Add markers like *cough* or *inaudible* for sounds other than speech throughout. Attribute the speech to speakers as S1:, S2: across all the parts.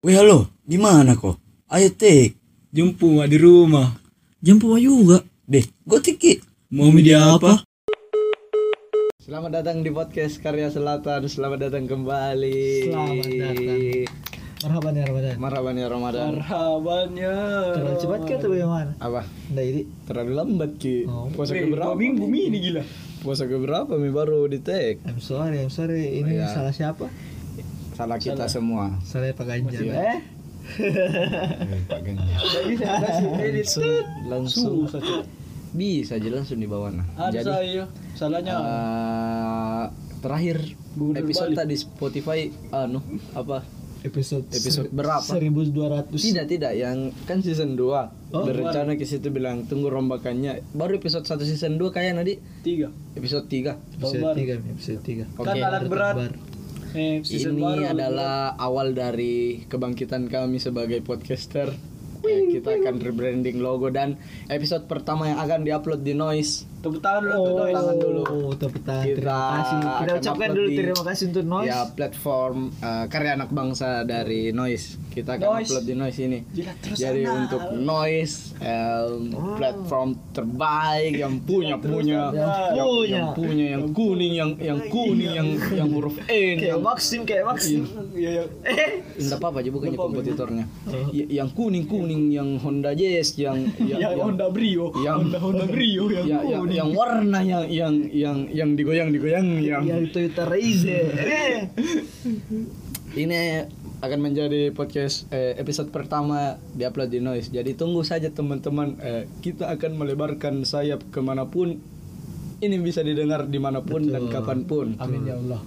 S1: Weh halo, di mana kok? Ayo tik.
S2: Jumpu di rumah.
S1: Jemput juga. Deh, gue tiki.
S2: Mau media apa?
S3: Selamat datang di podcast Karya Selatan. Selamat datang kembali.
S4: Selamat datang. Marhaban ya Ramadan.
S3: Marhaban ya Ramadan.
S2: Marhabannya.
S4: Terlalu cepat kah atau bagaimana?
S3: Apa?
S4: Nggak jadi.
S3: Terlalu lambat ki.
S4: Oh.
S3: Puasa
S2: Weh,
S3: keberapa?
S2: dua minggu Mi, ini gila.
S3: Puasa keberapa mi baru di tag?
S4: I'm sorry, I'm sorry. Ini
S3: Iya.
S4: salah siapa?
S3: Salah kita semua.
S4: Salah Pak Ganjar.
S3: Iya. Eh, Pak Ganjar.
S2: Bisa langsung edit. Tut.
S3: Langsung
S2: Susah Cuk.
S3: bisa aja langsung di bawah nah.
S2: Ada
S3: Jadi
S2: saya. Salahnya
S3: eh, terakhir
S2: Gubernur
S3: episode
S2: Bali.
S3: tadi Spotify anu apa
S4: Episode
S3: Episode
S4: ser-
S3: berapa?
S4: 1200.
S3: Tidak tidak yang kan season 2
S2: Oh,
S3: Berencana ke situ bilang tunggu rombakannya Baru episode 1 season 2 kayak tadi
S2: tiga.
S3: Episode 3
S4: Episode
S2: Baru.
S4: 3, episode 3.
S3: Oke.
S2: Kan alat berat. Eh, season
S3: Ini
S2: baru.
S3: adalah awal dari kebangkitan kami sebagai podcaster Eh, Kita akan rebranding logo dan episode pertama yang akan diupload di Noise
S2: Tepuk tangan dulu.
S4: Oh,
S2: tepuk tangan.
S3: tangan dulu.
S4: tepuk tangan.
S3: Kita
S4: Terima kasih. Kita
S3: akan
S4: ucapkan
S3: upload
S4: dulu
S3: di-
S4: terima kasih untuk Noise.
S3: Ya platform eh, karya anak bangsa dari Noise Kita akan
S2: Noise.
S3: upload di Noise ini
S2: Gila, terus
S3: Jadi
S2: sana.
S3: untuk Noise em,
S4: Wow.
S3: platform terbaik yang punya punya
S4: Oh. Yang
S3: yang
S4: punya.
S3: yang punya yang kuning yang yang kuning yang yang huruf E N
S4: Kayak
S3: yang
S4: Maxim, kayak Maxim.
S2: Iya, iya.
S3: Enggak apa-apa aja bukannya
S2: Enggak apa-apa.
S3: kompetitornya.
S4: Oh.
S3: Y- yang kuning-kuning, yang Honda Jazz,
S4: *laughs*
S3: yang yang
S2: Yang Honda Brio.
S3: yang-
S2: Honda
S3: *laughs*
S2: Honda Brio yang
S3: ya- ya-
S2: kuning.
S3: yang warna yang yang yang yang digoyang-digoyang yang
S4: Yang Toyota
S3: Iya.
S4: *laughs* Razer. Eh.
S3: ini akan menjadi podcast eh, episode pertama di upload di noise jadi tunggu saja teman-teman Eh, kita akan melebarkan sayap kemanapun ini bisa didengar dimanapun dan
S4: Betul.
S3: kapanpun
S2: Amin ya Allah.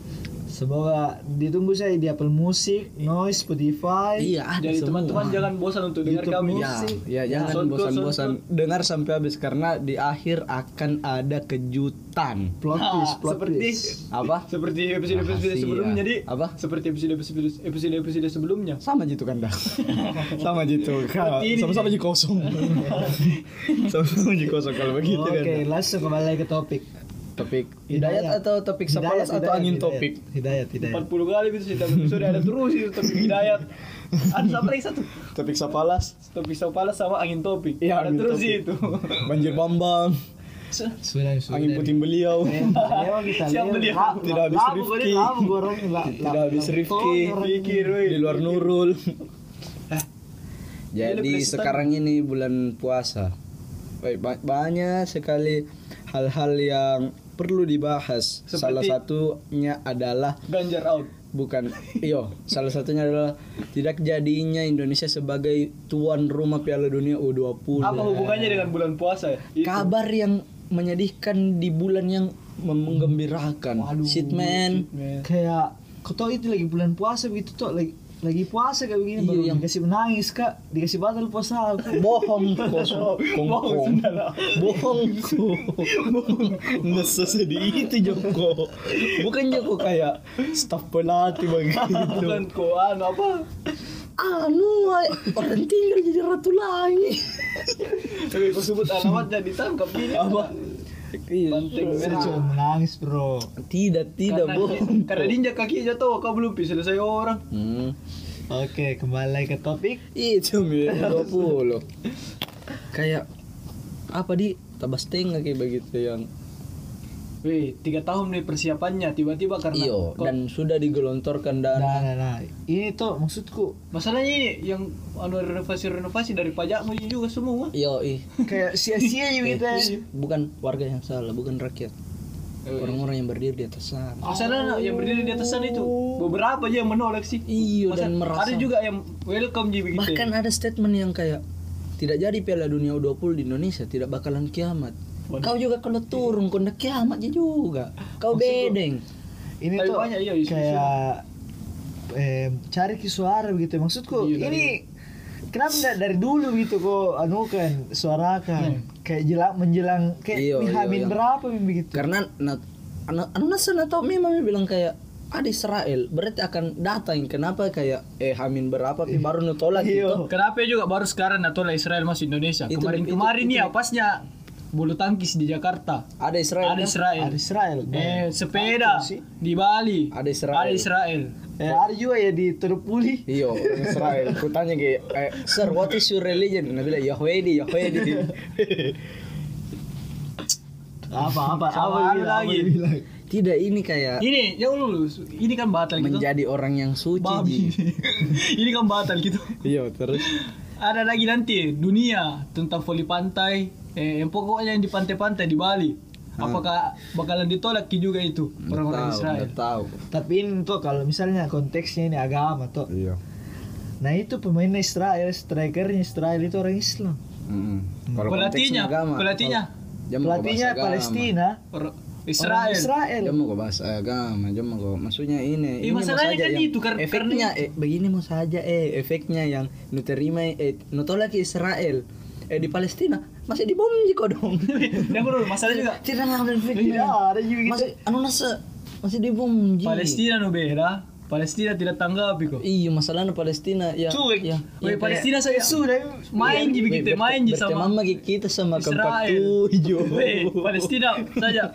S4: Semoga ditunggu saya di Apple Music, Noise, Spotify.
S3: iya ada semua.
S2: Jadi Ah, teman-teman jangan bosan untuk dengar
S4: YouTube
S2: kami.
S4: Music.
S3: Ya, ya jangan
S2: Soundcloud,
S3: bosan-bosan dengar sampai habis karena di akhir akan ada kejutan.
S4: Plot twist, plot
S2: Ah, Seperti
S4: twist.
S3: Apa?
S2: seperti episode-episode
S3: Rahasia.
S2: sebelumnya jadi
S3: Apa?
S2: seperti episode-episode episode-episode sebelumnya
S3: Sama gitu
S2: *laughs*
S3: kan dah. Sama gitu.
S2: Seperti ini.
S3: Sama-sama aja
S2: *laughs*
S3: kosong. Sama-sama aja kosong kalau begitu kan.
S4: Oke, langsung kembali ke topik.
S3: Topik hidayat atau topik sepalas atau
S4: hidayat,
S3: angin
S4: hidayat.
S3: topik.
S4: Hidayat, hidayat.
S2: 40 kali itu setiap episode ada terus itu
S3: *laughs*
S2: topik hidayat ada siapa lagi satu
S3: Topik sepalas.
S2: topik sampala sama angin topik
S3: Iya,
S2: ada
S3: angin
S2: terus
S3: topik.
S2: itu
S3: Banjir Bambang,
S4: Sudah, sudah.
S3: angin puting beliau.
S4: Eh, Leo kita Leo.
S2: Siapa dia?
S4: La-
S3: Tidak
S4: la-
S3: habis
S4: labu, gua
S3: Rifki.
S4: dia labu, gua orang. La- la-
S3: Tidak habis
S4: la-
S3: Rifki.
S4: tolong orang ini.
S2: pikir weh
S3: Di luar Nurul. Jadi
S2: Jadi
S3: sekarang ini bulan puasa. Baik, ba- banyak sekali hal-hal yang perlu dibahas.
S2: Seperti-
S3: Salah satunya adalah
S2: ganjar out
S3: bukan iyo, salah satunya adalah tidak jadinya Indonesia sebagai tuan rumah Piala Dunia U20.
S2: apa hubungannya dengan bulan puasa ya Itu. *laughs*
S3: Kabar yang menyedihkan di bulan yang menggembirakan.
S4: Waduh,
S3: Shit man.
S2: Man.
S4: Kayak kau tahu itu lagi bulan puasa begitu tuh lagi lagi puasa kayak begini
S3: Iya,
S4: baru
S3: yang-
S4: dikasih menangis kak dikasih batal *laughs* puasa aku
S3: *laughs* bohong kos bohong bohong nggak sesedih itu Joko bukan Joko kayak staff pelatih begitu
S2: bukan koan apa
S3: anu ay, orang tinggal jadi ratu langit
S2: tapi kau sebut alamatnya ditangkap gini
S3: apa
S2: Banteng
S4: saya
S2: merah.
S4: cuma menangis bro
S3: Iya. tidak tidak
S2: Karena-
S3: bohong
S2: karena injak kaki jatuh kau belum bisa selesai orang
S3: hmm.
S4: oke kembali ke topik
S3: itu mir 20 kayak apa di tabas tengah kayak begitu yang
S2: Weh, tiga tahun nih persiapannya tiba-tiba karena
S3: iyo
S2: kok-
S3: dan sudah digelontorkan
S4: nah
S3: dana
S4: nah nah ini tuh maksudku
S2: masalahnya ini yang anu renovasi-renovasi dari pajakmu ini juga semua.
S3: iyo ih
S4: kayak sia-sia aja *laughs*
S3: Eh,
S4: gitu
S2: Iya.
S4: aja.
S3: bukan warga yang salah, bukan rakyat. Iya, Orang-orang yang berdiri di atas sana.
S2: Masalahnya yang berdiri di atas sana itu beberapa aja yang menolak sih.
S3: Iyo dan
S2: Masa-
S3: merasa.
S2: Ada juga yang welcome jadi begitu.
S3: Bahkan ada statement yang kayak tidak jadi Piala Dunia U20 di Indonesia tidak bakalan kiamat.
S2: Waduh.
S3: Kau juga kalau turun kau ndak kiamat aja juga. Kau bedeng.
S4: ini
S2: Tapi
S4: tuh
S2: banyak, iya, isu-isu.
S4: kayak eh, cari ki suara begitu maksudku
S2: Iya,
S4: ini kenapa nggak dari dulu gitu kok anu kan
S2: Hmm.
S4: suarakan kayak jelang menjelang kayak
S3: Iya,
S4: di
S3: iya,
S4: hamin
S3: iya.
S4: berapa min begitu
S3: Karena na- anak anak sana tahu memang dia bilang kayak ada Israel berarti akan datang kenapa kayak eh Hamin berapa pi
S2: Iya.
S3: baru nutolak gitu
S4: Iyo.
S2: Kenapa juga baru sekarang atau Israel masuk Indonesia?
S3: Itu-
S2: Kemarin-kemarin
S3: itu-
S2: nih
S3: itu-
S2: ya pasnya bulu tangkis di Jakarta,
S3: Ada Israel.
S2: ada
S3: kan?
S2: Israel.
S4: Ada Israel.
S2: Eh, sepeda
S4: Apa sih?
S2: di Bali,
S3: Ada Israel.
S2: Ada Israel.
S4: Eh, ada juga ya di Turpuli.
S3: Iya, orang Israel. Ku tanya kayak, eh, Sir, what is your religion? Dia bilang, Yahudi, Yahudi.
S4: Apa apa
S2: Sama
S4: apa
S2: ada lagi.
S3: Tidak, ini kayak
S2: Ini, yang dulu, ini kan batal Iya, gitu.
S3: Ah. menjadi orang yang suci. gitu. Ji.
S2: Babi. *laughs* ini kan batal gitu.
S3: Iya, terus.
S2: Ada lagi nanti dunia tentang voli pantai, eh, yang pokoknya yang di pantai-pantai di Bali.
S3: Ah.
S2: Apakah bakalan ditolak juga itu orang-orang
S3: Nggak tahu,
S2: Israel?
S3: nggak tahu.
S4: Tapi ini tuh kalau misalnya konteksnya ini agama tuh.
S3: Iya.
S4: Nah itu pemainnya Israel, strikernya Israel itu orang Islam.
S3: Mm-mm. Kalau
S2: Pelatihnya,
S3: konteks agama,
S2: pelatihnya
S3: kalau- Jangan mau
S4: Pelatihnya
S3: bahas agama.
S4: Palestina,
S2: Or-
S4: Israel. Israel.
S2: Israel. *laughs*
S3: Jangan mau kau bahas agama, jangan mau kau- maksudnya ini.
S2: Eh,
S3: ini mau
S2: masalahnya
S3: saja
S2: kan
S3: yang-
S2: itu, kar-
S3: efeknya
S2: karena-
S3: eh, begini mau saja eh efeknya yang nu terima eh nu tolak Israel eh di Palestina masih dibom jiko dong.
S2: Dan bro, masalah juga Iya,
S1: Tidak ada
S4: Tidak ada juga gitu.
S1: Masih anu nasa masih di bom ji.
S2: Palestina no beda. Palestina tidak tanggapi kok.
S3: Iya masalahnya Palestina ya, yang
S2: Cuek.
S3: yang
S2: Weh, Palestina saya
S4: Sudah.
S2: main ji begitu, main ji sama
S3: sama kita sama keempat
S2: Israel.
S3: tujuh.
S2: *laughs* Weh, Palestina saja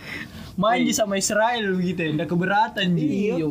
S2: main ji sama Israel begitu, ndak keberatan ji.
S3: Iya.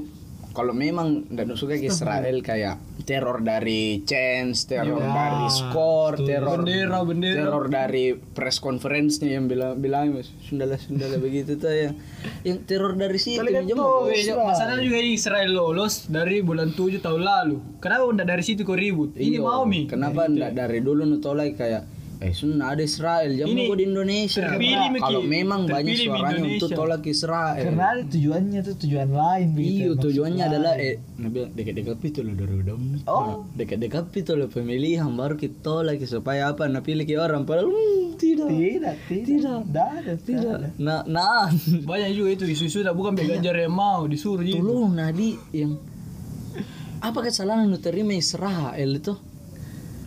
S3: Kalau memang tidak suka ke Israel kayak teror dari chance, teror dari skor, teror
S2: Iya, Bendera, bendera.
S3: teror dari press conference-nya yang bilang bilang mas sundalah sundalah begitu tuh yang yang teror dari situ
S4: Kalau
S3: jam
S4: gitu,
S2: Weh, Jo, masalahnya juga ini Israel lolos dari bulan 7 tahun lalu. Kenapa ndak dari situ kau ribut? Ini Nah, mau mi.
S3: Iya. Kenapa ndak dari dulu nutolai kayak eh sunnah ada Israel jangan
S2: Ini
S3: mau di Indonesia.
S2: terpilih, Miki.
S3: Kalau memang banyak
S2: Terpilih di
S3: suaranya untuk
S2: Indonesia.
S3: tolak Israel.
S4: Karena ada tujuannya tuh tujuan lain
S3: Iya
S4: gitu. Maksud
S3: tujuannya
S4: lain.
S3: adalah eh Nabil dekat-dekat itu loh dari udah
S4: Oh.
S3: dekat-dekat itu loh pemilihan baru kita lagi supaya apa nah pilih ke orang padahal hmm, tidak
S2: Iya.
S4: tidak tidak tidak ada, tidak ada.
S3: nah
S2: *laughs*
S3: nah
S2: Banyak juga itu isu-isu dah bukan Ganjar yang mau disuruh ji.
S3: tolong nadi yang apa kesalahan lu terima Israel itu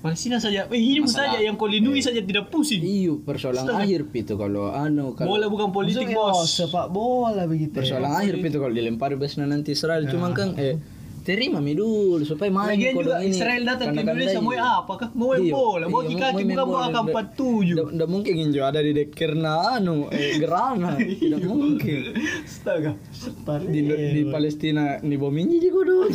S2: Palestina saja. Eh, ini
S3: Masalah.
S2: saja yang kau lindungi saja tidak pusing.
S3: iyo Iya, persoalan
S2: Astaga.
S3: akhir itu kalau anu kalau
S2: Iya. Bola bukan politik,
S4: Maksudnya, oh,
S2: Bos.
S4: sepak bola begitu. ya.
S2: Iya.
S3: persoalan akhir itu kalau dilempar besna nanti Israel cuman kan eh terima mi dulu supaya main
S2: Ah. Lagian
S3: kodong
S2: juga Israel datang ke Indonesia mau apa kah? Mau main
S3: Iya,
S2: bola, mau
S3: iya,
S2: kaki kaki
S3: main
S2: bukan mau
S3: bola.
S2: angka
S3: Nggak-
S2: 47.
S3: nggak- nggak mungkin Injo ada di dek karena anu eh,
S2: *laughs*
S3: gerana.
S2: Iya.
S3: Tidak mungkin.
S2: Astaga. Iya,
S3: Di, di Palestina di bom ini juga
S2: *laughs*
S3: dong.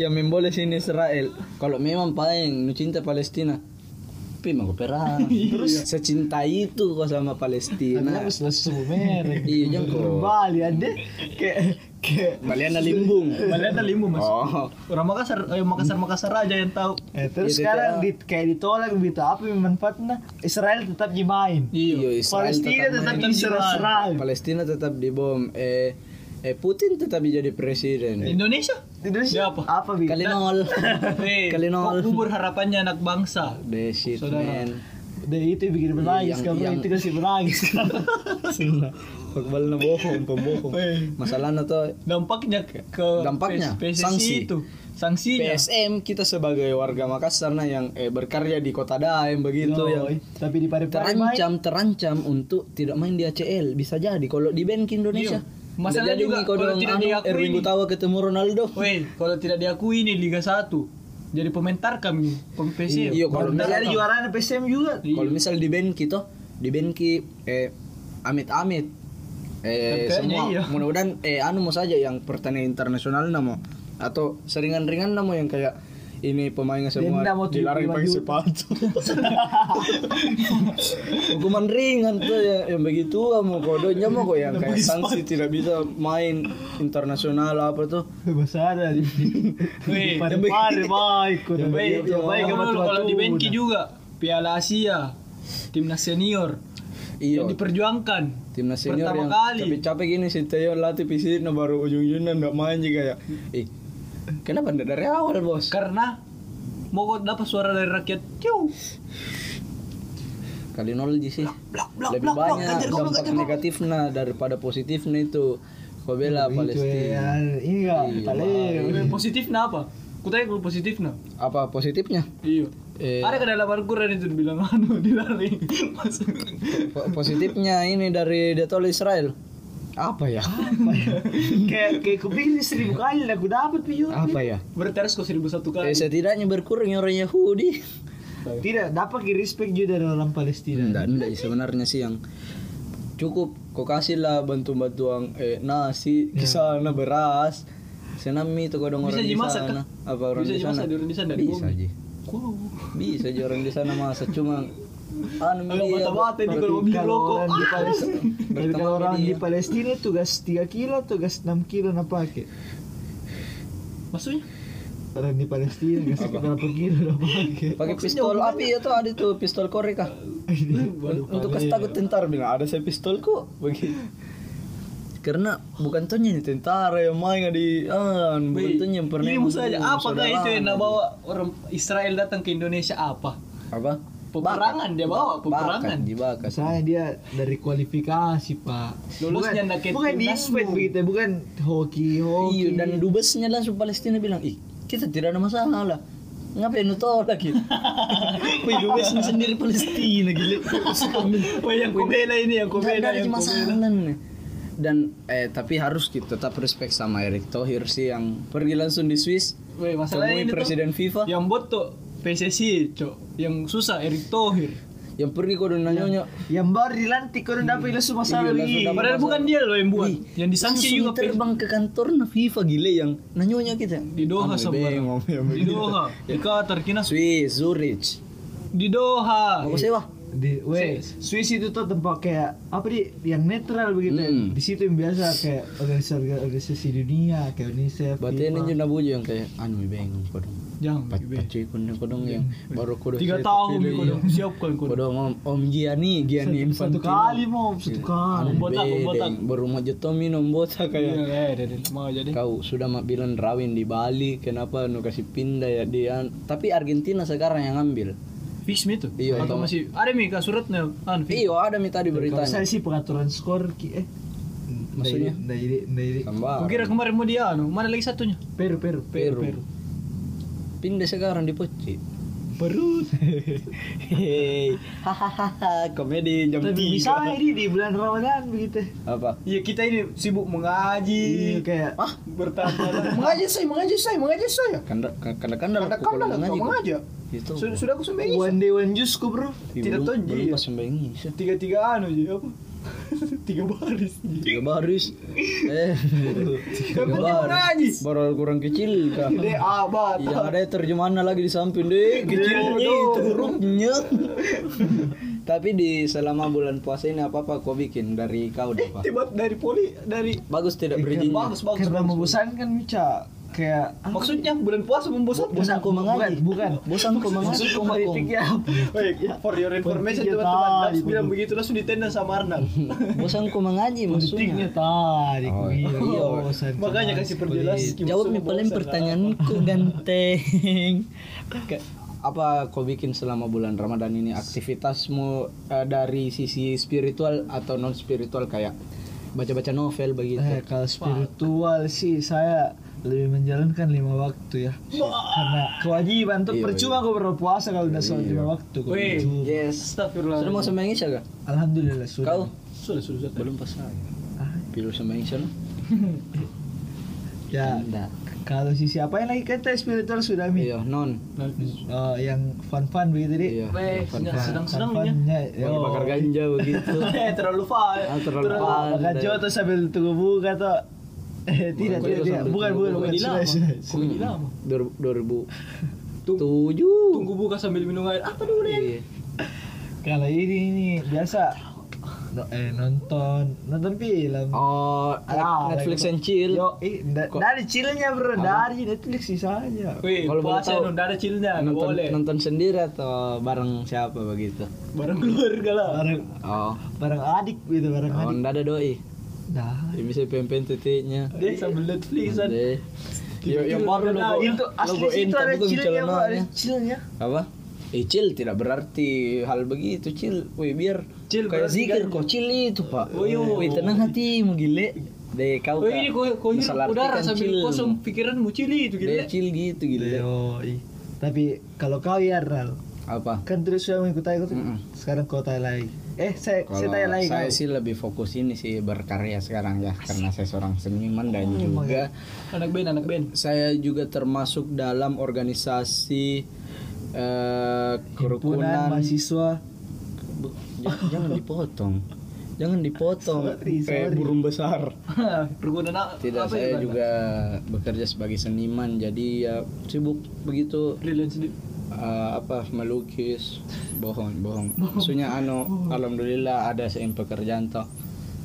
S3: Yang main bola sini Israel. Kalau memang paling nu cinta Palestina. Tapi mau
S2: *laughs*
S3: perang.
S2: Iya.
S3: Terus secinta itu kok sama Palestina.
S4: Karena harus langsung merek.
S3: Iya, jangan kok.
S4: Bali ada kayak kayak
S3: Balian ada limbung.
S2: Melihat limu mas.
S3: Oh.
S2: Orang Makassar, eh, Makassar Makassar aja yang tahu.
S4: Eh, terus
S3: Gitu, Cak.
S4: sekarang di, kayak ditolak begitu apa yang manfaatnya Israel tetap dimain
S3: Iya, Israel
S4: Palestina tetap
S2: main.
S4: diserang
S3: Palestina tetap dibom. Eh, eh Putin tetap jadi presiden.
S2: Indonesia?
S4: Indonesia
S2: Siapa?
S3: Ah,
S4: apa? Apa bi?
S3: Kali
S2: *laughs*
S3: nol.
S2: Eh,
S3: Kali nol.
S2: kau kubur harapannya anak bangsa.
S3: Desit
S2: Saudara.
S3: man.
S4: Dari Nah, itu yang bikin menangis,
S3: Yang-
S4: kamu
S3: Iya, yang-
S4: itu kasih menangis.
S3: *laughs* Pagbalna bohong, pembohong. Masalahnya tuh
S2: Dampaknya ke
S3: Dampaknya,
S2: P- PSSI
S3: sanksi.
S2: itu. Sanksinya.
S3: PSM kita sebagai warga Makassar nah yang eh, berkarya di Kota Daem begitu
S4: Yoi.
S3: yang
S4: Tapi di pare pare main.
S3: terancam terancam untuk tidak main di ACL bisa jadi kalau di band ke Indonesia.
S2: Iya. Masalah
S3: Jadi nih,
S2: juga
S3: kau
S2: kalau
S3: dong
S2: tidak
S3: anu,
S2: diakui
S3: Erwin
S2: nih.
S3: Gutawa ketemu Ronaldo.
S2: Weh, kalau tidak diakui ini Liga 1 jadi pementar kami, pem- PSSI.
S3: Iya, kalau
S2: Pementar
S4: Dari juaranya PSM juga.
S3: Kalau misal di band kita, di band ki eh amit-amit eh
S2: Kayaknya
S3: semua
S2: iya.
S3: mudah-mudahan eh anu mau saja yang pertandingan internasional namo atau seringan-ringan namo yang kayak ini pemainnya semua
S4: Denda mau
S3: dilarang
S4: 75
S3: pakai
S4: juta.
S3: sepatu.
S4: *laughs*
S3: Hukuman ringan tuh ya, yang begitu mau kodonya mau kok yang kayak sanksi tidak bisa main internasional apa tuh.
S4: Bahasa ada di
S2: Weh,
S4: pare
S3: yang
S4: pare main. Kudu
S3: yang
S4: baik,
S2: Baik,
S3: begitu.
S4: yang baik sama
S2: kalau,
S4: tua
S2: iya, kalau di
S4: tua.
S2: Benki juga Piala Asia timnas senior
S3: Iya.
S2: yang diperjuangkan
S3: Timnas senior yang
S2: pertama kali
S3: capek-capek gini si Teo latih PC nah baru ujung-ujungnya nggak main juga ya. Ih, kenapa nggak dari awal bos?
S2: karena mau kau dapat suara dari rakyat Ciu.
S3: Kali nol aja sih. Lebih banyak dampak negatifnya daripada positifnya itu. Kau bela
S4: Gitu ya.
S3: Palestina.
S4: Ini enggak.
S3: Iya,
S4: Pale.
S2: Eh, positifnya apa kutanya kalau positifnya
S3: Apa positifnya?
S2: iya
S3: Eh,
S2: ada kedalaman Quran itu bilang anu dilarang Masuk.
S3: po- positifnya ini dari Detol Israel. Apa ya?
S4: *laughs* Kayak kayak kupikir seribu kali lah aku dapat pion.
S3: Apa ya?
S2: berteras kau seribu satu
S3: Eh,
S2: kali
S3: setidaknya berkurang orang Yahudi.
S4: Tidak dapat ki respect juga dari orang Palestina.
S2: Iya.
S3: Tidak, tidak sebenarnya sih yang cukup kau kasihlah bantuan-bantuan eh, nasi di sana beras senam itu kau dong orang
S2: Iya. Bisa
S3: di
S2: dimasak,
S3: sana
S2: kan?
S3: apa orang
S2: Bisa
S3: di sana
S2: dimasak di orang di sana, di
S3: bisa
S2: bumi.
S3: aja
S2: Wow.
S3: bisa aja orang di sana masa cuma anu
S2: Agak
S3: dia
S2: mata-mata ini kalau mau beli
S4: kalau
S2: rokok.
S4: orang di Palestina,
S3: Berteman
S4: kalau orang
S3: dia.
S4: di Palestina tugas 3 kilo, tugas 6 kilo nak pakai.
S2: Maksudnya?
S4: Orang di Palestina tugas berapa kilo nak pakai?
S3: pakai pistol
S2: ya?
S3: api itu ada tuh pistol korek ah untuk kasih takut tentara bilang ada saya pistol kok bagi karena bukan tuh yang tentara yang ya, main di ah bukan tuh yang pernah
S2: Ini musuh aja.
S3: membunuh
S2: Apakah
S3: saudara.
S2: itu yang nak bawa orang Israel datang ke Indonesia apa?
S3: apa
S2: Peperangan dia bawa, peperangan.
S3: Bakat, dibakat.
S4: Saya dia dari kualifikasi, Pak.
S3: kan
S2: Lulusnya nak
S4: bukan,
S2: ke
S4: bukan di
S2: timnasmu.
S4: event begitu, bukan hoki, hoki.
S3: Iya, dan dubesnya langsung Palestina bilang, ih kita tidak ada masalah lah. Ngapain lu tolak
S2: *laughs*
S3: lagi? Wih, dubes sendiri Palestina gila.
S2: Oh yang kau bela ini yang kau
S3: Tidak
S2: bela
S3: ada
S2: yang kau bela.
S3: masalah nih. Dan eh tapi harus kita tetap respect sama Erick Thohir sih yang pergi langsung di Swiss.
S2: Weh,
S3: temui
S2: masalahnya ini tuh, Ya.
S3: presiden FIFA.
S2: Yang botok PSSI, cok. Yang susah Erick Thohir.
S3: Yang pergi kau dan nanya
S4: Yang baru dilantik kau dah pilih semua
S3: Iya,
S4: salah
S3: langsung
S4: lagi.
S3: dapat
S2: Ya. Padahal bukan dia loh yang buat.
S3: Ih,
S2: Yang disanksi
S3: langsung
S2: juga Pe-
S3: terbang ke kantor na FIFA gile yang nanyonya kita.
S2: di Doha
S3: Anu,
S2: semua.
S3: bengong, yang
S2: Di
S3: begitu.
S2: Doha, di Qatar kena
S3: Swiss, Zurich.
S2: di Doha.
S3: Mau sewa?
S4: Di, weh, Swiss itu tuh tempat kayak apa di yang netral begitu.
S3: Hmm.
S4: Di situ yang biasa kayak organisasi organisasi dunia kayak UNICEF.
S3: Berarti
S4: FIFA.
S3: ini juna buju yang kayak anu bengong kau dong.
S2: Jangan.
S3: Pat
S2: Be.
S3: pacu kodong kodong yang baru kodong
S2: Tiga tahun ni kau
S3: iya.
S2: dah siapkan kau.
S3: kodong om, om Giani Giani
S4: satu
S3: Infantino
S4: kali mau satu kali.
S3: Anu
S2: Botak,
S3: bedeng,
S2: botak.
S3: baru mau jatuh minum botak
S2: Iya,
S3: kayak
S2: eh, dia- dia- mau jadi.
S3: kau sudah mak bilang rawin di Bali kenapa nu kasih pindah ya dia tapi Argentina sekarang yang ambil
S2: Fix me tuh.
S3: Iya,
S2: Atau
S3: iya.
S2: masih ada mi kak suratnya? Anu, An, fix.
S3: iyo ada mi tadi
S4: Kalau
S3: beritanya
S4: saya sih pengaturan skor ki eh
S3: Maksudnya?
S4: Nda jadi nda jadi
S3: Gambar.
S2: Kukira kemarin mau dia anu, mana lagi satunya?
S4: Peru Peru
S3: Peru. pindah sekarang di Poci
S4: Peru. *laughs*
S3: hei *laughs* hahaha komedi jam
S4: Tapi bisa
S3: tiga
S4: ini di bulan Ramadan begitu.
S3: apa
S2: Iya kita ini sibuk mengaji,
S4: Iya kayak
S2: *laughs* bertanya.
S5: Mengaji saya, mengaji saya, mengaji saya.
S3: kanda kanda kanda
S5: Karena kau dah kau mengaji.
S3: itu
S5: Sudah sudah aku sembah
S4: one day one juice ku bro.
S3: Ih,
S2: tidak
S3: belum-
S2: tahu,
S3: belum
S2: iya.
S3: pas sembahyang Isya.
S2: tiga tiga anu je apa? *laughs* tiga baris.
S3: tiga *laughs* baris eh tiga baris baru kurang kecil kah
S2: Gede abad.
S3: yang Iya, ada terjemahannya lagi di samping deh kecilnya itu hurufnya *laughs* tapi di selama bulan puasa ini apa apa kau bikin dari kau deh pak
S2: Tiba dari poli dari
S3: bagus tidak berizin
S2: bagus bagus.
S4: Karena
S2: bagus.
S4: membosankan kan, Mica kayak
S2: Maksudnya bulan puasa membosankan.
S3: Ah, bosan kau mengaji *laughs*
S4: bukan.
S3: bosan kau mengaji kau makong
S4: Politik ya.
S2: Wait, for your information
S4: Tiga
S2: teman-teman,
S4: kali,
S2: Naps bilang
S4: Bang.
S2: begitu langsung ditendang sama
S4: *laughs*
S2: Arnal.
S4: Iya,
S2: *laughs*
S3: bosan kau mengaji Iya, maksudnya
S4: Politiknya tadi ku
S3: Oh,
S4: bilang,
S3: iya.
S4: bosan
S2: Makanya
S4: sama
S2: kasih
S4: sekali.
S2: perjelas.
S3: jawab nih paling pertanyaanku ganteng Ke- apa kau bikin selama bulan Ramadan ini aktivitasmu eh, dari sisi spiritual atau non spiritual kayak baca-baca novel begitu
S4: Eh, kalau spiritual sih saya lebih menjalankan lima waktu ya. Karena kewajiban tuh
S3: Iya,
S4: percuma kau berpuasa kalau udah sholat lima waktu. kau
S2: Wih.
S4: percuma.
S3: yes
S2: Astagfirullah.
S3: sudah mau sembahyang isya gak?
S4: Alhamdulillah sudah.
S3: kau
S2: Sudah sudah sudah.
S3: belum pas saya
S4: Ah,
S3: pilu sembahyang isya lah
S4: ya kalau sisi apa yang lagi kata spiritual sudah mi.
S3: iya non
S4: Oh, yang fun-fun begitu deh.
S3: iya
S2: Weh, sedang-sedangnya.
S4: Fun-funnya.
S3: Bagi bakar ganja
S4: *laughs*
S3: begitu
S2: *laughs* Eh, terlalu far.
S3: Ah, terlalu far.
S4: Bakar jauh tuh sambil tunggu buka tuh. *laughs* Eh, tidak,
S3: Kau
S4: tidak,
S3: itu
S4: tidak.
S3: sambil
S4: Bukan,
S3: tunggu
S4: bukan,
S2: Kau
S4: bukan.
S2: gila
S4: Sudah,
S2: apa?
S4: sudah.
S2: Kau gila apa?
S3: dua ribu
S2: Tunggu-
S3: tujuh
S2: Tunggu buka sambil minum air. Apa dulu deh?
S3: Iya.
S4: Kalau ini ini biasa no, eh, nonton nonton film.
S3: oh
S4: Ah,
S3: Netflix
S4: lagi-
S3: and chill
S4: Yo, eh, da-
S3: Kok-
S4: dari chillnya bro, dari Netflix sih saja.
S2: Weh,
S3: Kalau boleh
S2: puasa
S3: tahu,
S2: non ada cilnya, nggak
S3: nonton,
S2: Iya, boleh.
S3: nonton sendiri atau bareng siapa begitu
S2: Barang keluarga lah.
S4: Barang
S3: oh
S4: barang adik gitu, barang
S3: oh
S4: adik. Nah.
S3: nggak ada doi
S4: Dah.
S3: yang bisa pempem titiknya
S2: Dia sambil Netflixan.
S3: Iya. Deh. Yo, yang baru
S2: Nah,
S3: logo
S4: Itu asli
S3: logo
S4: situ
S3: Inter
S4: ada
S3: bukan
S4: chillnya bro, ada
S3: celananya.
S4: chillnya.
S3: apa Eh, chill tidak berarti hal begitu chill weh biar
S2: Chill
S3: kayak
S2: berarti
S3: zikir
S2: kan-
S3: kok chill itu pak
S2: Oh, iya.
S3: weh tenang hatimu gile deh kau
S2: Weh, ini kau kau hirup
S3: Masalah
S2: udara
S3: artikan
S2: sambil
S3: chill.
S2: kosong Iya. pikiran mucili itu
S3: deh
S2: gila.
S3: chill gitu gile
S4: Yo, ih. Tapi kalau kau ya Ral,
S3: apa
S4: kan terus sudah mengikuti aku tuh.
S3: Mm-mm.
S4: Sekarang kau tanya lagi. Eh, saya saya
S3: Kalau
S4: tanya lagi
S3: saya
S4: kau.
S3: sih lebih fokus ini sih berkarya sekarang ya karena saya seorang seniman dan
S4: Hmm, oh, iya.
S3: juga
S2: Anak band, anak *laughs* band.
S3: saya juga termasuk dalam organisasi eh
S4: Himpunan
S3: kerukunan
S4: mahasiswa
S3: Bu- jangan, jangan dipotong Jangan dipotong.
S5: Sorry,
S3: Kayak
S5: sorry.
S3: burung besar.
S2: Pergunaan apa
S3: Tidak,
S2: apa
S3: saya
S2: ya,
S3: juga bekerja sebagai seniman, jadi ya sibuk begitu
S2: freelance di
S3: eh, apa melukis, bohong, bohong. Maksudnya anu, alhamdulillah ada seim pekerjaan toh,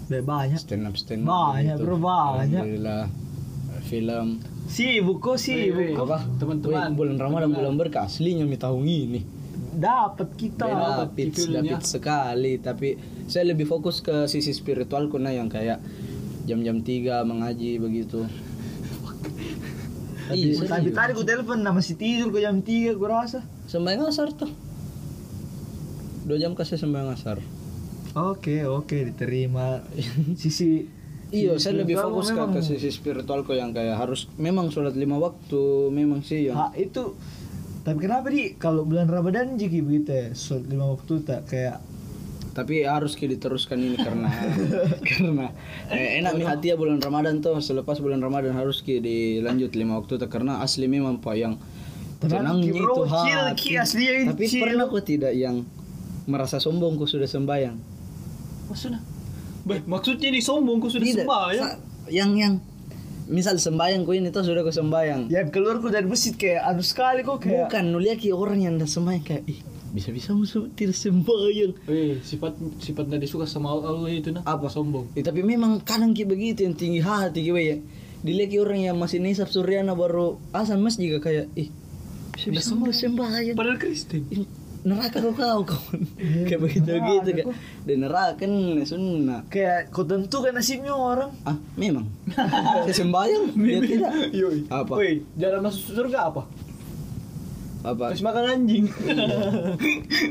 S4: Udah banyak.
S3: stand up stand up. begitu.
S4: Banyak, Ya. bro, ya. banyak.
S3: Alhamdulillah film.
S4: Sibuk kok sibuk.
S2: Weh,
S3: Apa?
S2: teman-teman.
S3: Weh, bulan Ramadan bulan berkah aslinya mi tahun ini.
S4: Dapat kita.
S3: Beda
S2: Dapat
S3: pits,
S2: feelnya.
S3: dapat sekali tapi saya lebih fokus ke sisi spiritualku nah yang kayak jam-jam 3 mengaji begitu. Iya,
S4: Tapi, tapi tadi ku telepon nama si tidur ku jam 3 ku rasa.
S3: sembahyang asar tuh. Dua jam kasih sembahyang asar.
S4: Oke, oke
S3: *laughs*
S4: diterima. Sisi
S3: Iya, saya lebih
S4: spiritual
S3: fokus ke,
S4: memang-
S3: ke sisi spiritualku yang kayak harus memang sholat lima waktu, memang sih yang
S4: Ha, itu tapi kenapa di kalau bulan Ramadan jiki begitu ya sholat lima waktu tak kayak
S3: tapi harus ki diteruskan ini karena *laughs* karena eh, enak mi hati ya bulan Ramadan tuh selepas bulan Ramadan harus ki dilanjut lima waktu tuh karena asli memang pak yang
S4: Tenang,
S3: tenangnya
S4: ki, bro.
S3: itu
S4: Chill, ki,
S3: hati
S4: asli ya,
S3: tapi
S4: chill.
S3: pernah kok tidak yang merasa sombong kok sudah sembahyang
S2: maksudnya Bah, maksudnya ini sombong kok sudah
S3: Iya. Tidak.
S2: sembah ya.
S3: Sa- yang yang misal sembahyang ku ini tuh sudah ku sembahyang
S4: yang keluar ku dari masjid kayak anu sekali kok Ya, kayak
S3: bukan nulia ki orang yang dah sembahyang kayak ih bisa-bisa musuh tidak sembahyang
S2: Weh, Eh, sifat sifat tadi suka sama Allah itu nah.
S3: Apa?
S2: sombong?
S3: Ya, tapi memang kadang kayak begitu yang tinggi hati kayak ya. Dilihat kayak orang yang masih nisab suryana baru asan mas juga kayak ih bisa bisa mau sembahyang.
S2: Padahal Kristen.
S3: Ih, Neraka kau kau kawan. kayak begitu gitu kayak. Dan neraka kan sunnah.
S4: kayak kau tentukan nasibnya orang
S3: Ah memang. Saya sembahyang
S2: *laughs*
S3: dia Iya tidak.
S2: Yoi.
S3: Apa?
S2: Weh, jalan masuk surga apa? *laughs*
S3: Apa?
S2: Terus makan anjing.
S3: Iya.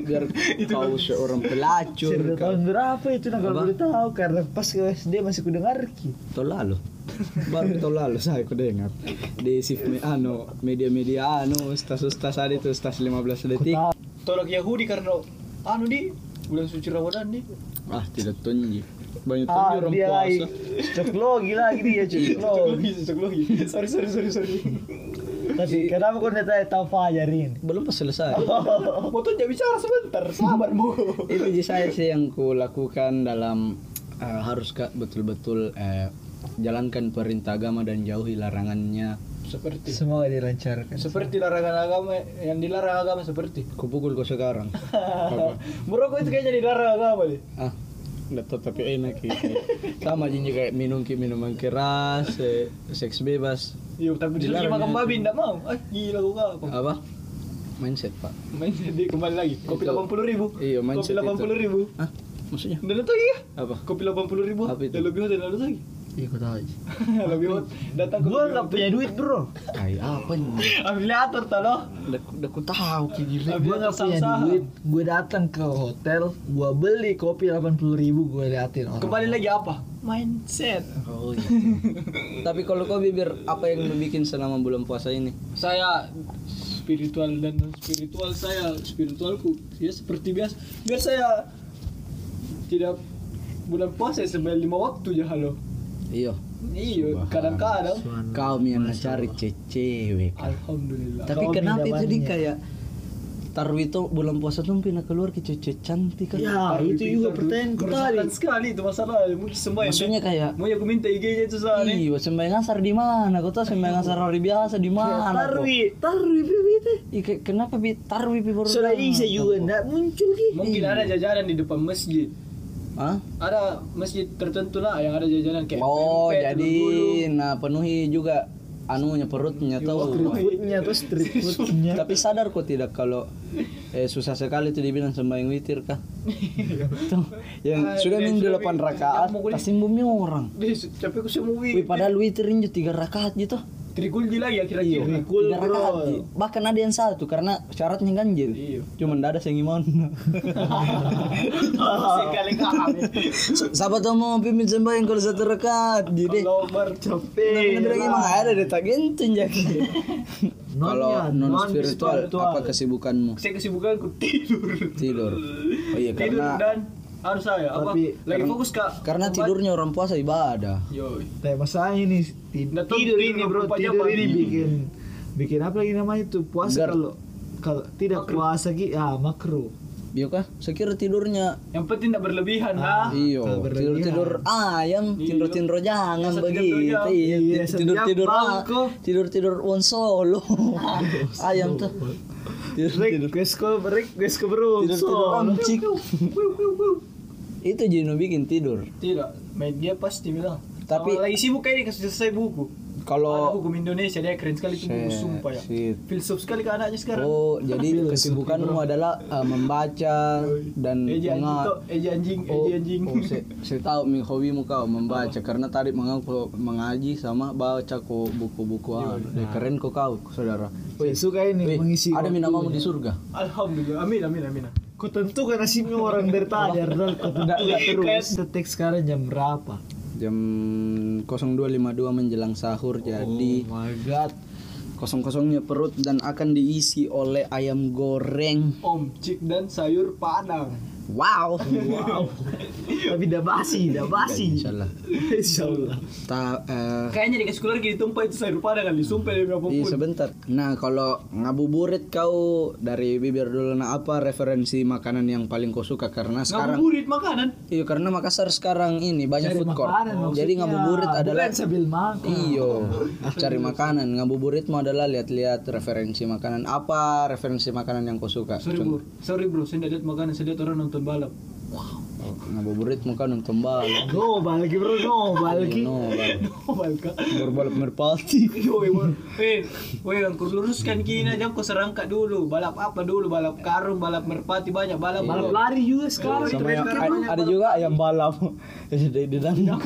S3: Biar kau seorang pelacur.
S4: sudah
S3: kau-
S4: tahun berapa itu nah kalau
S3: Apa?
S4: boleh tahu karena pas ke SD masih gitu. ku dengar ki
S3: Tahun lalu. Baru tahun lalu saya ku dengar di sif me- anu media-media anu ustaz-ustaz ada itu ustaz 15 detik.
S2: *laughs* Tolak Yahudi karena anu di bulan suci Ramadan nih.
S3: Ah tidak tunji Banyak tunji
S4: ah
S3: orang
S4: dia lagi
S3: puasa
S4: cocok logi lagi dia
S3: Iya,
S4: cocok logi
S2: Iya, Cocok lagi. Oh. *laughs* Sorry sorry sorry sorry.
S4: tapi kenapa kau tidak tanya tahu Fajar ini
S3: Belum pas selesai
S4: Oh.
S2: Motor jangan bicara sebentar,
S3: *laughs*
S2: sahabatmu.
S3: Itu di saya sih yang ku lakukan dalam eh, Harus ka- betul-betul eh, Jalankan perintah agama dan jauhi larangannya
S2: Seperti
S4: semoga dilancarkan
S2: seperti larangan agama yang dilarang agama seperti.
S3: Kupukul kau
S2: *laughs*
S3: sekarang
S2: Merokok itu kayaknya dilarang agama deh.
S3: Ah Dato tapi enak gitu. Sama aja kayak minum ki minuman keras, eh, seks bebas,
S2: Iya, tapi disuruh
S3: Dilarang
S2: makan
S3: ya.
S2: babi enggak mau. Ah, gila gua apa?
S3: apa? Mindset pak.
S2: Main jadi kembali lagi. Kopi
S3: Itu-
S2: 80 ribu.
S3: Iya,
S2: Kopi
S3: mindset itu.
S2: 80 ribu.
S3: Ah, maksudnya
S2: Dan itu iya.
S3: apa?
S2: Kopi 80 ribu.
S3: Apa itu?
S2: Dan lebih hotel lalu lagi.
S3: Iya kau tahu. aja.
S2: *laughs* Lebih hot. Datang ke
S4: gua nggak punya duit bro
S3: Kayak apa nih?
S2: afiliator tau loh.
S3: Udah, udah ku tahu kayak gila.
S4: gue nggak punya duit gue datang ke hotel gue beli kopi 80 ribu gue liatin orang
S2: Kembali lagi apa? Mindset.
S3: Oh iya. Tapi kalau kau bibir apa yang lu bikin selama bulan puasa ini?
S2: Saya spiritual dan non spiritual saya spiritualku ya seperti biasa biar saya tidak bulan puasa sebanyak lima waktu ya halo
S3: Iya.
S2: iya
S3: Subhanallah.
S2: kadang-kadang
S3: Kau yang cari cewek.
S2: alhamdulillah
S3: Tapi
S4: Kau
S3: kenapa
S4: pindah
S3: itu di
S4: banyak.
S3: kayak Tarwito bulan puasa tuh pindah keluar ke cewek cantik kan?
S4: ya itu juga pertanyaan ku tadi
S2: Kerusakan sekali itu masalah mungkin sembahyang
S3: Maksudnya kayak
S2: mau ya aku minta IG-nya itu sana nih
S3: Iya, sembahyang asar di mana? Kau tahu sembahyang asar hari biasa
S4: Iya,
S3: di mana? kau?
S4: tarwi tarwi bibit
S3: Ih, kayak kenapa bi tarwi bi baru?
S4: sudah
S3: datang?
S4: isa juga nggak muncul gitu. ki
S2: mungkin ada jajanan di depan masjid
S3: Hah?
S2: ada masjid tertentu lah yang ada jajanan
S4: Iya,
S2: kayak
S3: Oh,
S2: pempek,
S3: jadi
S2: telur gulung.
S3: nah penuhi juga anunya perutnya tahu.
S4: street foodnya tuh street foodnya
S3: Tapi sadar kok tidak kalau eh, susah sekali tuh dibilang sembahyang witir kah? Tuh, yang
S2: Ah,
S3: sudah
S2: iya,
S3: minggu
S2: sudah
S3: delapan
S2: minggu.
S3: rakaat,
S2: Yang mau kulit.
S3: pasti bumi orang.
S2: Dih, tapi aku semua
S3: Wih, padahal Iya. witir ini tiga rakaat gitu.
S2: Trigulji lagi akhir-akhir
S4: Cool,
S3: tiga rakaat.
S4: bro.
S3: Bahkan ada yang satu karena syaratnya ganjil.
S2: Iya.
S3: Cuman dada yang gimana?
S2: sekali kami
S3: Siapa tahu mau pimpin sembahyang kalau satu rakaat. Jadi
S2: kalau bercapek
S3: Bener-bener emang ada deh tak gentun jadi.
S4: Non ya,
S3: Kalau non
S4: non
S3: spiritual
S4: spiritual.
S3: apa kesibukanmu?
S2: saya kesibukanku tidur *laughs*
S3: Tidur. Oh iya
S2: tidur
S3: karena
S2: dan harus saya apa
S4: Tapi-
S2: lagi fokus kak
S3: karena
S2: obat.
S3: tidurnya orang puasa ibadah.
S2: Yoi.
S4: tapi masalahnya ini ti-
S2: Nggak tahu
S4: tidur
S2: tidur
S4: ini bro
S2: berapa jam,
S4: tidur
S2: Pak.
S4: ini bikin bikin apa lagi namanya itu puasa
S3: Gar.
S4: kalau kalau tidak puasa ki ah makruh
S3: Iya kah? Saya kira tidurnya
S2: Yang penting
S3: Ah,
S2: tidak berlebihan lah.
S4: kalau
S3: Iyo, tidur
S4: berlebihan.
S3: tidur ayam, tidur tidur jangan
S2: Setiap
S3: begitu.
S2: jam.
S3: Iya,
S4: Iya,
S3: tid- tidur
S4: setiap
S3: tidur
S4: malam kau.
S3: tidur tidur one solo. ayam tuh. Tidur tidur
S4: Gesko break, gesko bro.
S3: tidur tidur amcik. Itu Jino bikin tidur.
S2: Tidak, media pasti bilang.
S3: Tapi-
S2: Sama lagi sibuk kayaknya kasih selesai buku. Ada
S3: Kalau
S2: hukum Indonesia dia keren sekali itu buku
S3: Shit,
S2: sumpah ya.
S3: shit.
S2: Filsuf sekali ke anaknya sekarang.
S3: Oh,
S4: Iya,
S3: jadi kesibukanmu adalah eh, membaca dan
S4: Iya,
S2: Eji anjing
S3: menga-
S2: tok, eji anjing,
S3: Oh,
S2: eji anjing.
S3: oh, saya, saya tahu mi hobimu kau membaca karena tadi mengaku mengaji sama baca kok buku-buku ah. Deh, keren kok kau saudara.
S4: Wih, suka ini
S3: Wih,
S4: Iya, mengisi.
S3: ada
S4: waktu. iya.
S3: minamamu di surga.
S2: Alhamdulillah. Amin amin amin.
S4: Kau tentukan nasibnya orang dari tadi, Ardal. Kau tidak tidak
S3: gitu,
S4: terus.
S3: kan?
S4: Detik sekarang jam berapa?
S3: Jam 02.52 menjelang sahur jadi
S4: Oh my god.
S3: kosong-kosongnya perut dan akan diisi oleh ayam goreng.
S2: Om cik dan sayur padang.
S3: Wow.
S4: Wow.
S2: *laughs*
S4: Tapi tidak basi, tidak basi.
S3: Insyaallah.
S4: Insyaallah.
S3: Ta eh,
S2: Kayaknya dikasih keluar gitu tumpah itu sayur padang kali sumpah demi
S3: Iya
S2: apapun.
S3: sebentar. Nah kalau ngabuburit kau dari bibir dulu nah apa referensi makanan yang paling kau suka karena sekarang
S2: Ngabuburit makanan.
S3: iya karena Makassar sekarang ini banyak food court.
S4: Makanan maksudnya.
S3: Jadi ngabuburit adalah
S4: Bukan sambil makan.
S3: iyo cari makanan. Ngabuburit mau adalah lihat-lihat referensi makanan apa referensi makanan yang kau suka.
S2: Sorry
S3: Contoh,
S2: bro, sorry bro, saya tidak lihat makanan, saya lihat orang nonton balap. *laughs*
S3: Oh, Ngabuburit kan muka nonton bal.
S4: Go balik bro, no balik.
S3: No, bal.
S2: Oh my god.
S3: Berbalap merpati.
S2: Yo, bro. Eh, weh, yang kau luruskan kini aja kau serangkat dulu. Balap apa dulu? Balap karung, balap merpati banyak balap.
S4: Balap
S2: balap.
S4: lari juga sekarang.
S3: Sama yang- ada juga ayam balap. *laughs* Jadi di dalam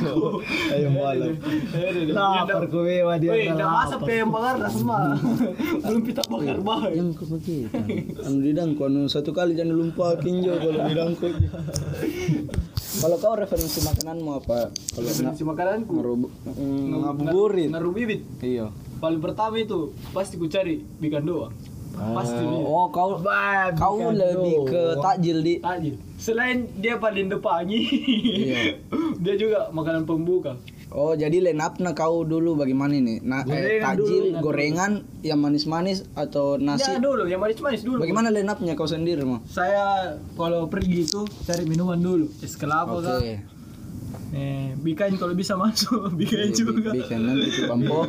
S3: ayam balap.
S2: Iya,
S4: Lapar gue wah dia
S2: Weh, dah
S4: lapar.
S2: masak pe yang bakar dah semua. *laughs* Belum kita bakar bahan.
S3: yang kebegitan *laughs* anu didangko anu satu kali jangan lupa kinjo kalau didangko *laughs* kalau kau referensi makananmu apa kalau nga-
S2: Referensi makananku.
S3: ngerubu- mm, ngabuburit
S2: Naruh bibit.
S3: iya
S2: Paling pertama itu pasti ku cari bikan doang. Pasti
S3: Eh,
S2: dia.
S3: oh kau kau lebih ke takjil di
S2: Takjil. Selain dia paling depangi,
S3: Iya.
S2: *laughs* dia juga makanan pembuka.
S3: oh jadi lenapna kau dulu bagaimana ini nah eh, takjil gorengan yang manis-manis atau nasi
S2: Ya dulu, yang manis-manis dulu.
S3: bagaimana lenapnya kau sendiri mau
S2: Saya kalau pergi itu cari minuman dulu. Es kelapa kah?
S3: oke Iya,
S2: Eh, bikain kalau bisa *laughs* masuk, bikain juga.
S3: bikin nanti
S2: *laughs*
S3: ke bampo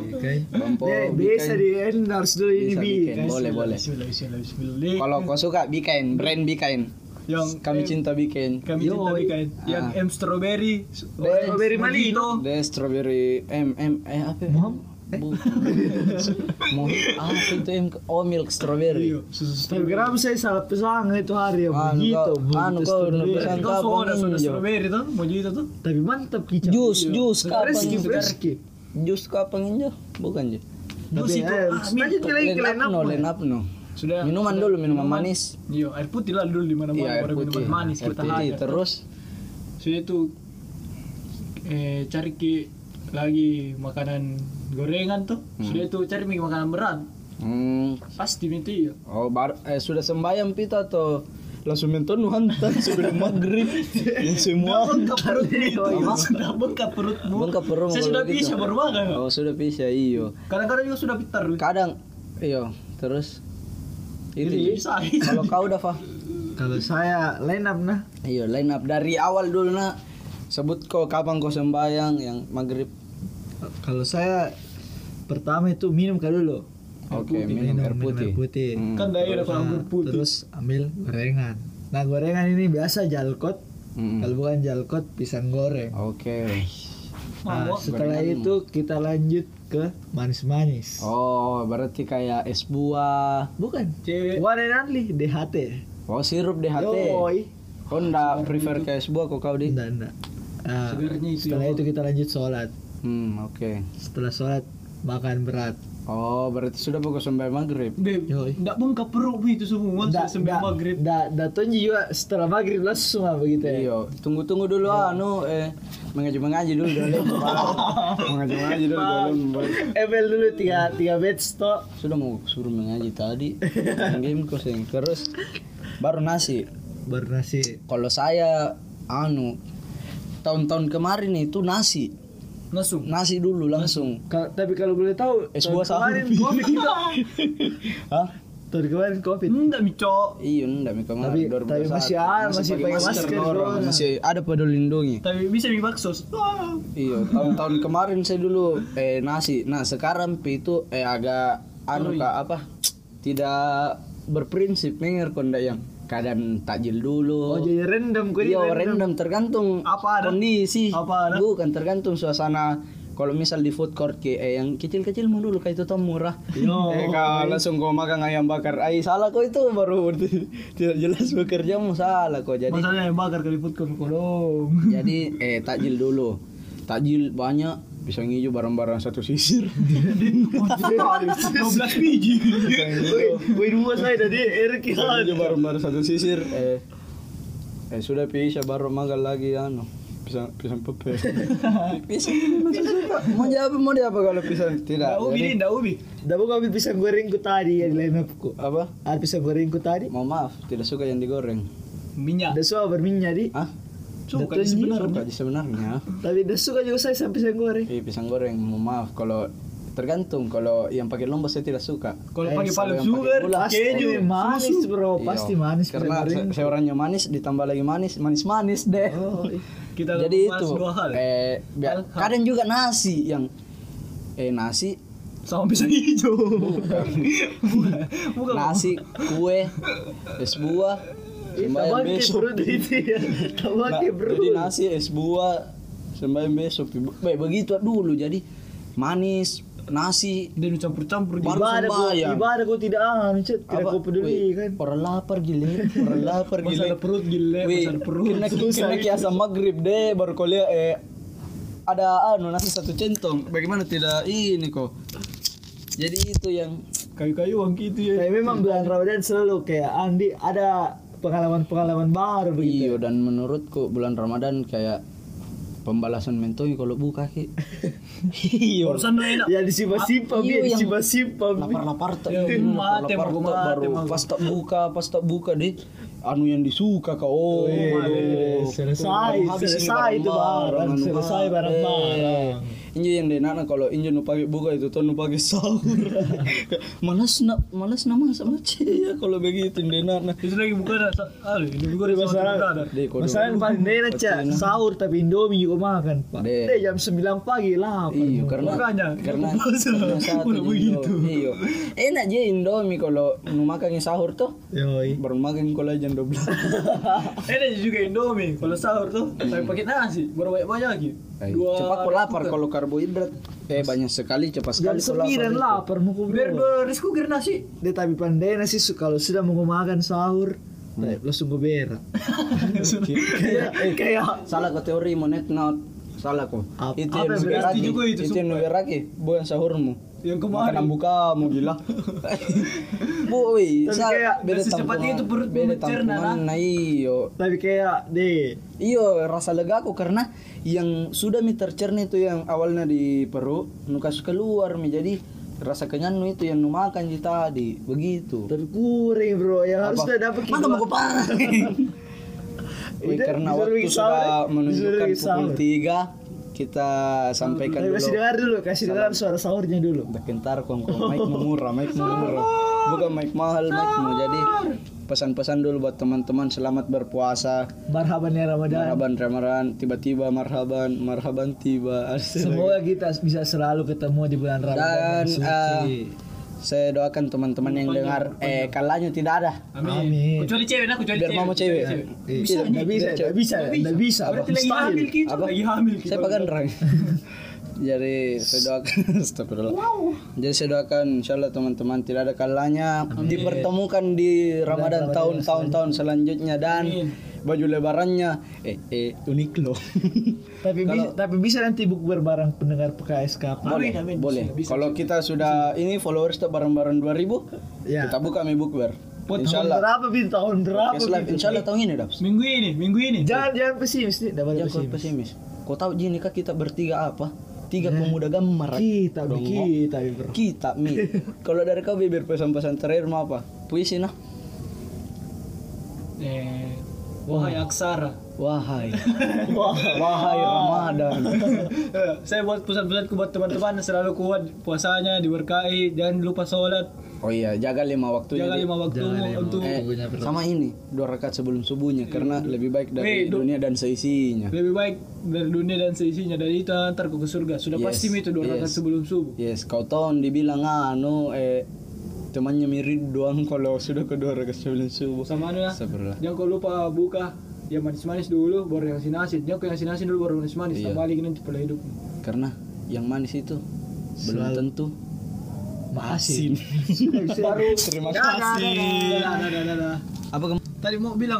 S3: bampo
S4: Eh, Bisa di endorse dulu ini
S3: Bisa
S4: bi.
S3: bikin, boleh boleh
S2: Bismillah, bismillah, bismillah.
S3: Kalau kau suka bikin, brand bikin.
S2: yang
S3: Kami
S2: em-
S3: cinta bikin.
S2: kami cinta bikain. Yang
S3: Ah.
S2: M strawberry, s-
S3: Orange,
S2: strawberry malino.
S3: The strawberry M M eh apa? Mom. *laughs* Mom. Ah itu M oh milk
S2: Iya,
S3: strawberry.
S4: Instagram saya salah pesan itu hari ya
S3: Anu
S4: begitu.
S3: kau, anu
S4: begitu
S3: kau
S4: sendiri.
S3: pesan
S2: Kau
S3: kau
S2: soda, soda
S3: peninjo.
S2: strawberry tuh, mau gitu tuh.
S4: Tapi mantap kicau.
S3: Jus, jus kau
S4: Reski,
S3: peninjo.
S4: reski.
S3: Jus kau peninjo, bukan je.
S4: Tapi
S2: Jus itu,
S4: eh,
S2: ah,
S4: lanjut lagi
S3: Len
S4: ke line
S3: up
S4: up.
S3: no,
S4: man.
S3: len up no.
S2: Sudah.
S3: Minuman dulu, minuman manis.
S2: Iya, air putih lah dulu di
S3: Iya,
S2: mana-mana.
S3: air
S2: orang
S3: putih.
S2: Minuman manis
S3: Air
S2: kita
S3: putih
S2: hajar.
S3: terus.
S2: Sudah itu eh, cari ki lagi makanan gorengan tuh. Sudah itu cari mi makanan berat.
S3: Hmm,
S2: Pasti mesti ya.
S3: Oh, bar eh, sudah sembahyang pita atau langsung minta *laughs* nuhantan sebelum
S2: *laughs*
S3: maghrib yang semua
S2: Bengkak perut itu. Iya, Sudah bengkak perutmu.
S3: Iya, Bengkak perut
S2: Saya
S3: kalau
S2: sudah
S3: gitu.
S2: bisa baru makan.
S3: oh sudah bisa iyo
S2: Kadang-kadang juga sudah pitar.
S3: kadang iyo terus itu
S2: Jadi iya.
S3: Ji.
S2: saya.
S3: kalau kau udah fah
S4: Kalau saya line up nah.
S3: iyo line up dari awal dulu nak sebut kau kapan kau sembahyang yang maghrib
S4: Kalau saya pertama itu minum kan dulu.
S3: oke minum air putih
S4: putih.
S3: Hmm,
S2: Kan dari ada
S4: Nah,
S2: kurang putih.
S4: terus ambil gorengan. Nah gorengan ini biasa jalkot.
S3: Mm-mm.
S4: Kalau bukan jalkot pisang goreng.
S3: oke
S4: Nah,
S2: Mabok.
S3: Ah,
S4: setelah itu kita lanjut ke manis-manis.
S3: oh berarti kayak es buah
S4: Bukan.
S2: Cewek.
S4: One and only DHT.
S3: oh sirup DHT
S4: Yoi.
S3: kau ndak prefer ke es buah kok kau di
S4: Enggak, enggak. Ah,
S2: Segarnya itu
S4: setelah
S2: ya,
S4: itu kita lanjut sholat.
S3: hmm oke
S4: Setelah sholat makan berat.
S3: oh berarti sudah pokok sembahyang maghrib
S2: Beb,
S4: Yoi.
S2: enggak bengkak perut itu semua
S4: Nggak,
S2: masa sembilan
S4: nggak,
S2: Oh, maghrib.
S4: nggak, nggak tunjuk juga setelah maghrib langsung lah begitu ya.
S3: Iya, tunggu-tunggu dulu anu eh mengaji mengaji dulu dulu. *laughs* mengaji mengaji dulu dulu.
S4: Ebel dulu tiga tiga batch toh.
S3: Sudah mau suruh mengaji tadi. Game kucing terus baru nasi.
S4: Baru nasi.
S3: Kalau saya anu tahun-tahun kemarin itu nasi.
S2: Langsung.
S3: Nasi dulu langsung.
S4: Ka- tapi kalau boleh tahu
S3: Es
S4: tahun
S2: *laughs*
S3: buah sapi.
S4: kemarin Covid kita
S3: Hah?
S4: Tahun kemarin covid.
S3: Hmm.
S2: Enggak, Mico.
S3: Iya, enggak mikir
S4: Tapi- tapi masih ada, masih pakai masker
S3: orang,
S4: doang.
S3: masih ada peduli lindungi.
S2: Tapi bisa mie baksos. Wah.
S3: Iya, tahun-tahun kemarin saya dulu eh nasi. Nah, sekarang Pi itu eh agak anu kak apa? Tidak berprinsip mengerti kondak yang kadang takjil dulu.
S4: Oh jadi random gue
S3: Iya random tergantung
S2: Apa ada?
S3: kondisi.
S2: Apa ada?
S3: Bukan tergantung suasana. Kalau misal di food court kayak eh, yang kecil-kecil mau dulu kayak itu tuh murah. *laughs* Eh kalau langsung kau makan ayam bakar, ay salah kau itu baru *laughs* tidak jelas bekerja mau salah kau jadi.
S2: Masalahnya yang bakar keliput kon kodong.
S3: Jadi eh takjil dulu. Takjil banyak pisang hijau barang-barang satu
S2: *laughs*
S3: sisir.
S2: 12 biji.
S4: Gue dua saya tadi Eric
S3: pisang hijau barang-barang satu sisir. Eh, eh sudah pisah baru makan lagi anu pisang pisang
S4: *laughs*
S3: pepe. pisang masih suka. Mau diapa mau diapa kalau pisang tidak.
S2: Ndak ubi
S3: Jadi,
S2: nih, ndak ubi.
S4: Dah mau ngambil pisang gorengku tadi yang di line upku.
S3: apa?
S4: Ada pisang gorengku tadi.
S3: Mau maaf, tidak suka yang digoreng.
S2: Minyak.
S4: Ada suka berminyak di.
S3: Hah?
S2: Ah, Suka
S4: Betul,
S2: sebenarnya.
S3: Suka di sebenarnya.
S4: Tapi dah suka juga saya sama pisang goreng.
S3: Eh, pisang goreng, mau maaf kalau tergantung kalau yang pakai lombok saya tidak suka.
S2: Kalau
S4: Eh,
S2: pakai
S3: sama
S2: palu
S3: yang
S2: sugar,
S3: pakai gula.
S2: keju,
S4: Pasti manis bro, pasti
S3: Iya.
S4: manis pisang
S3: Karena
S4: goreng.
S3: saya, saya orangnya manis ditambah lagi manis, manis-manis deh.
S4: Oh,
S2: iya. Kita
S3: Jadi
S2: bahas
S3: itu
S2: dua hal. ya?
S3: eh biar-
S2: Hal-hal.
S3: kadang juga nasi yang eh nasi
S2: Sama pisang hijau. Bukan. Bukan.
S3: nasi kue es buah sembahyang
S4: Tabaki
S3: besok
S4: Eh, bro itu
S2: *laughs*
S4: ya.
S3: Nah,
S4: Tabaki bro.
S3: jadi nasi es buah sembahyang besok Be- begitu dulu jadi manis nasi
S2: Dia udah campur-campur di
S3: Baru
S4: Ibadah kok,
S3: sembahyang.
S4: ibadah kok tidak ah, Cet. tidak
S3: Apa?
S4: kau peduli
S3: Weh,
S4: kan.
S3: Orang lapar gile, orang lapar gile.
S2: masalah perut gile,
S3: Weh,
S2: masalah perut. ya.
S3: Kena kena ki asam maghrib deh baru kau lihat eh ada anu nasi satu centong. Bagaimana tidak ini kok. Jadi itu yang
S2: Kayu-kayu wang gitu ya.
S4: Kayak memang bulan Ramadan selalu kayak Andi ada pengalaman-pengalaman baru begitu.
S3: iyo dan menurutku bulan Ramadan kayak pembalasan mentoy kalau buka ki. iyo.
S2: Urusan lu enak.
S4: Ya disimpan-simpan,
S3: Iya,
S4: ya
S3: yang-
S4: disimpan-simpan.
S3: Lapar-lapar tak
S2: Ya,
S3: iyo,
S2: mate,
S3: lapar-lapar
S2: mago,
S3: tak
S2: mate,
S3: baru
S2: mago.
S3: pas tak buka, pas tak buka deh anu yang disuka kau. Oh,
S4: Eh, selesai,
S3: Baru habis ini
S4: selesai itu barang,
S3: anu
S4: selesai barang-barang.
S3: Injo yang denana kalau Injo nu pagi buka itu tuh nu pagi sahur. *laughs* malas nak malas nama sama ya kalau begitu denana.
S2: Itu lagi bukan aduh, ini gue
S4: Masalah-
S3: Deh kau.
S4: Masalah yang paling enak cak
S3: Pacina.
S4: sahur tapi Indomie juga makan. Pak.
S3: Deh.
S4: Deh jam 9 pagi lah.
S3: Iya, karena
S2: Makanya, *laughs*
S3: karena
S2: aku puasa.
S3: karena satu
S2: Udah
S3: Indo-
S2: begitu.
S3: Iya. Enak aja Indomie kalau nu makan yang sahur tuh
S4: Yoi.
S3: baru makan kalau jam
S2: *laughs*
S3: 12.
S2: Enak juga Indomie kalau sahur tuh tapi pakai nasi baru banyak banyak lagi.
S3: Eh, cepat kau lapar kalau karbohidrat eh banyak sekali cepat
S4: Jam
S3: sekali kau lapar.
S4: 9 lapar mau ku
S2: biar
S4: bro.
S2: dua risku kira nasi.
S4: Dia tapi pandai nasi su- kalau sudah mau makan sahur.
S3: Hmm.
S4: Nah, langsung gue berak.
S3: *laughs*
S4: kayak kayak
S3: Salah kau teori monet not salah kau.
S4: Apa-
S3: itu yang
S4: apa yang
S3: nuberaki.
S2: berarti juga itu,
S3: Itu yang nuberaki, bukan sahurmu.
S2: Yang kemarin.
S3: Makanan bukamu
S2: *laughs*
S3: gila. Bu, wih,
S4: Tapi
S3: salah-
S4: kayak
S3: beda
S2: nasi cepat
S3: tampungan-
S2: itu perutmu
S3: beda
S2: mencerna,
S3: tampungan, Nah, iyo.
S4: tapi kayak deh
S3: Iyo Iya, rasa lega aku karena yang sudah mi tercerna itu yang awalnya di perut nukas keluar mi jadi rasa kenyang nu itu yang nu makan di tadi begitu.
S4: tapi kuring bro yang harus
S3: Apa?
S4: udah dapet gitu,
S3: Mana mau *laughs*
S4: *laughs*
S3: kupang? Wih,
S4: Itu
S3: Ya, karena
S4: disuruh
S3: waktu
S4: bikin sahur,
S3: sudah
S4: eh. Disuruh
S3: menunjukkan
S4: bikin
S3: pukul
S4: sahur.
S3: 3 kita sampaikan
S4: Tapi
S3: dulu.
S4: kasih dengar dulu kasih dengar suara sahurnya dulu
S3: Udah kentar kong kong mic murah, mic murah. Bukan mic mahal, mic murah. Jadi pesan-pesan dulu buat teman-teman selamat berpuasa.
S4: marhaban ya Ramadan
S3: Marhaban Ramadan, tiba-tiba marhaban, marhaban tiba.
S4: semoga kita bisa selalu ketemu di bulan
S3: Dan
S4: Ramadan yang
S3: eh,
S4: suci.
S3: saya doakan teman-teman yang dengar eh kalanya tidak ada.
S4: Amin.
S2: Kecuali cewek nah, kecuali
S3: Biar
S2: cewek.
S3: mama cewek.
S4: Iya, nggak bisa nggak bisa nggak bisa
S2: Berarti lagi
S4: Mustahil.
S2: hamil gitu.
S3: Apa?
S2: Lagi hamil gitu.
S3: Saya pagandrang. Jadi saya doakan *laughs* Astagfirullah. Jadi saya doakan insyaallah teman-teman tidak ada kalanya dipertemukan di Ramadan tahun-tahun selanjutnya dan baju lebarannya eh eh unik loh. *laughs*
S4: tapi bisa tapi bisa nanti bukber bareng pendengar PKSK
S3: boleh, boleh. Kalau kita sudah ini followers tuh bareng-bareng 2000,
S4: Ya.
S3: kita buka Mi Bukber.
S4: Tahun
S3: Insyaallah.
S4: berapa bin tahun berapa
S3: Yes, live.
S4: Bin?
S3: Insyaallah tahun ini Daps.
S2: Minggu ini, minggu ini.
S4: jangan jangan pesimis nih dapat
S3: Jangan kau
S4: pesimis
S3: pesimis. Kau tahu Ji nikah kita bertiga apa? Tiga
S2: Ya.
S3: pemuda gambar.
S4: kita
S3: Dong,
S4: kita bro
S3: kita
S2: *laughs*
S3: mi kalau dari kau bibir pesan-pesan terakhir mau apa puisi nah
S2: Eh, wahai aksara. *laughs*
S3: wahai wahai ramadan
S2: *laughs* Eh, Saya buat pesan-pesanku buat teman-teman selalu kuat puasanya, diberkahi, jangan lupa sholat.
S3: Oh iya, jaga lima waktunya.
S2: Jaga
S3: Di-
S2: lima waktu
S4: Jaga lima
S2: untuk
S3: Eh, sama ini dua rakaat sebelum subuhnya karena lebih baik dari
S2: Iya. Wih, du-
S3: dunia dan seisinya.
S2: lebih baik dari dunia dan seisinya dari itu antar ke surga. Sudah
S3: Yes,
S2: pasti itu dua rakaat
S3: yes.
S2: sebelum subuh.
S3: Yes, kau tahun dibilang anu eh temannya mirip doang kalau sudah kedua rakaat sebelum subuh.
S2: Sama anu ya.
S3: Sabarlah.
S2: Jangan kau lupa buka yang manis-manis dulu baru yang asin-asin. Jangan kau yang asin-asin dulu baru manis-manis.
S3: Iya.
S2: Tambah lagi nanti pola hidup.
S3: Karena yang manis itu belum
S4: Selalu.
S3: tentu
S4: Makasih.
S3: Terima kasih.
S2: Dadah, dadah, dadah, dadah.
S3: Apa
S2: Tadi mau bilang